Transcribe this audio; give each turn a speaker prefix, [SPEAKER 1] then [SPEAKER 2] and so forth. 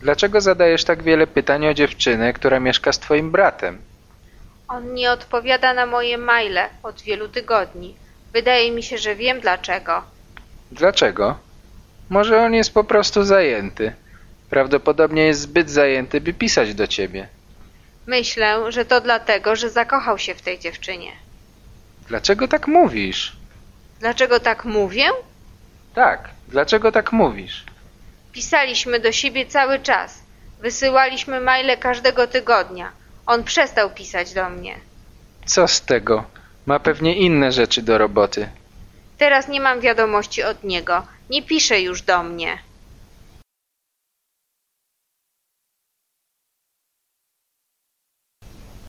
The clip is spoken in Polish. [SPEAKER 1] Dlaczego zadajesz tak wiele pytań o dziewczynę, która mieszka z twoim bratem?
[SPEAKER 2] On nie odpowiada na moje maile od wielu tygodni. Wydaje mi się, że wiem dlaczego.
[SPEAKER 1] Dlaczego? Może on jest po prostu zajęty. Prawdopodobnie jest zbyt zajęty, by pisać do ciebie.
[SPEAKER 2] Myślę, że to dlatego, że zakochał się w tej dziewczynie.
[SPEAKER 1] Dlaczego tak mówisz?
[SPEAKER 2] Dlaczego tak mówię?
[SPEAKER 1] Tak, dlaczego tak mówisz?
[SPEAKER 2] Pisaliśmy do siebie cały czas. Wysyłaliśmy maile każdego tygodnia. On przestał pisać do mnie.
[SPEAKER 1] Co z tego? Ma pewnie inne rzeczy do roboty.
[SPEAKER 2] Teraz nie mam wiadomości od niego. Nie pisze już do mnie.